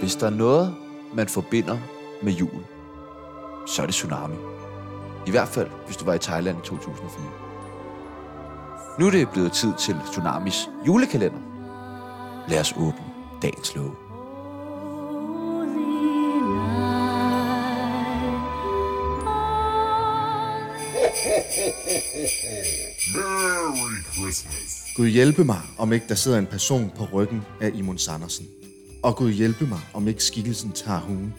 Hvis der er noget, man forbinder med jul, så er det tsunami. I hvert fald, hvis du var i Thailand i 2004. Nu er det blevet tid til Tsunamis julekalender. Lad os åbne dagens låge. Merry Christmas. Gud hjælpe mig, om ikke der sidder en person på ryggen af Imon Sandersen. Og Gud hjælpe mig, om ikke skikkelsen tager hun.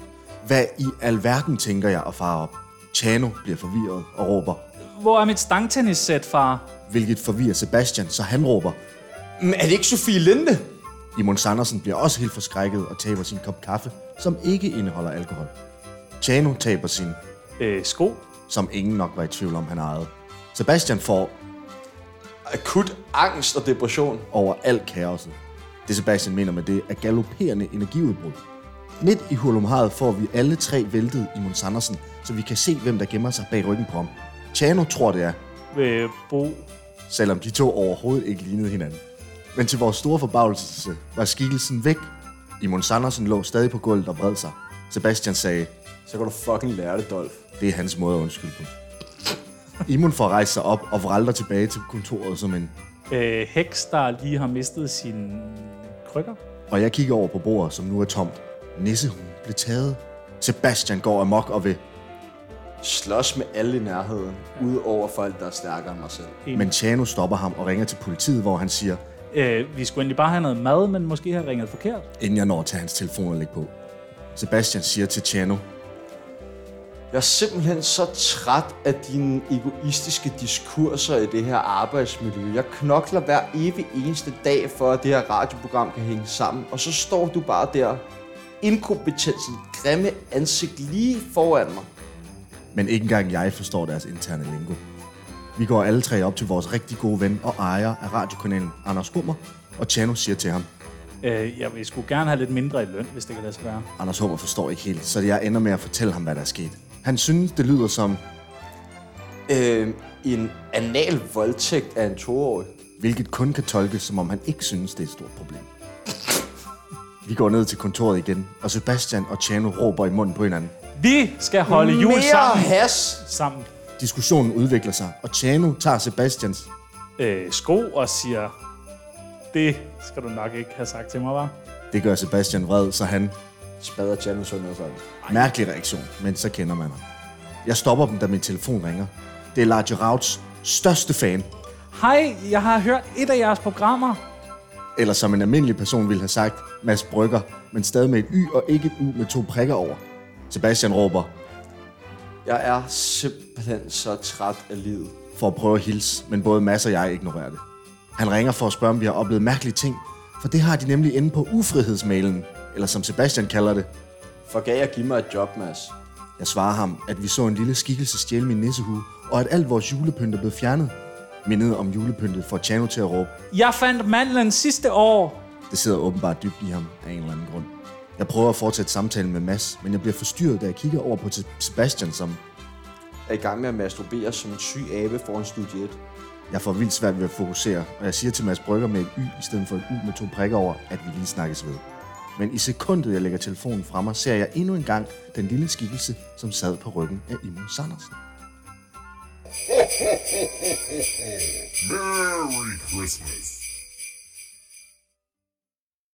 Hvad i alverden tænker jeg og far op? Chano bliver forvirret og råber, Hvor er mit stangtennissæt, far? hvilket forvirrer Sebastian, så han råber. Men er det ikke Sofie Linde? Imon Sandersen bliver også helt forskrækket og taber sin kop kaffe, som ikke indeholder alkohol. Chano taber sin, Øh, sko? som ingen nok var i tvivl om, han ejede. Sebastian får Akut angst og depression. over alt kaoset. Det Sebastian mener med det er galopperende energiudbrud. Midt i hulumhavet får vi alle tre væltet i Mons Andersen, så vi kan se, hvem der gemmer sig bag ryggen på ham. Chano tror det er, Øh, bo? selvom de to overhovedet ikke lignede hinanden. Men til vores store forbavelse var skikkelsen væk. Imon Sandersen lå stadig på gulvet og vred sig. Sebastian sagde, Så kan du fucking lære det, Dolf. det er hans måde at undskylde på. Imon får rejst sig op og vralter tilbage til kontoret som en Øh, heks, der lige har mistet sine krykker? og jeg kigger over på bordet, som nu er tomt. Nissehunden blev taget. Sebastian går amok og vil, Slås med alle i nærheden, udover folk, der er stærkere end mig selv. men Chano stopper ham og ringer til politiet, hvor han siger, Øh, vi skulle egentlig bare have noget mad, men måske har ringet forkert. inden jeg når at tage hans telefon og lægge på. Sebastian siger til Chano, Jeg er simpelthen så træt af dine egoistiske diskurser i det her arbejdsmiljø. Jeg knokler hver evig eneste dag for, at det her radioprogram kan hænge sammen. Og så står du bare der, inkompetensen, grimme ansigt lige foran mig. men ikke engang jeg forstår deres interne lingo. Vi går alle tre op til vores rigtig gode ven og ejer af radiokanalen Anders Hummer, og Chano siger til ham, Øh, jeg, jeg skulle gerne have lidt mindre i løn, hvis det kan lade sig gøre. Anders Hummer forstår ikke helt, så jeg ender med at fortælle ham, hvad der er sket. Han synes, det lyder som, Øh, en anal voldtægt af en toårig. hvilket kun kan tolkes, som om han ikke synes, det er et stort problem. Vi går ned til kontoret igen, og Sebastian og Chano råber i munden på hinanden. Vi skal holde jul Mere sammen. has! sammen. Diskussionen udvikler sig, og Chano tager Sebastians, Øh, sko og siger, det skal du nok ikke have sagt til mig, var. det gør Sebastian vred, så han, Spader Janus under sig. mærkelig reaktion, men så kender man ham. Jeg stopper dem, da min telefon ringer. Det er Large Rauts største fan, Hej, jeg har hørt et af jeres programmer. eller som en almindelig person ville have sagt, Mads Brygger, men stadig med et Y og ikke et U med to prikker over. Sebastian råber, Jeg er simpelthen så træt af livet. for at prøve at hilse, men både Mads og jeg ignorerer det. Han ringer for at spørge, om vi har oplevet mærkelige ting, for det har de nemlig inde på ufrihedsmailen, eller som Sebastian kalder det. Forgav at give mig et job, Mads. Jeg svarer ham, at vi så en lille skikkelse stjæle min nissehue, og at alt vores julepynt er blevet fjernet. Mindet om julepyntet får Chano til at råbe, Jeg fandt mandlen sidste år. det sidder åbenbart dybt i ham af en eller anden grund. Jeg prøver at fortsætte samtalen med Mads, men jeg bliver forstyrret, da jeg kigger over på Sebastian, som Er i gang med at masturbere som en syg abe foran studie 1. jeg får vildt svært ved at fokusere, og jeg siger til Mads Brygger med et Y i stedet for et U med to prikker over, at vi lige snakkes ved. Men i sekundet, jeg lægger telefonen fra mig, ser jeg endnu en gang den lille skikkelse, som sad på ryggen af Imon Sandersen. Merry Christmas.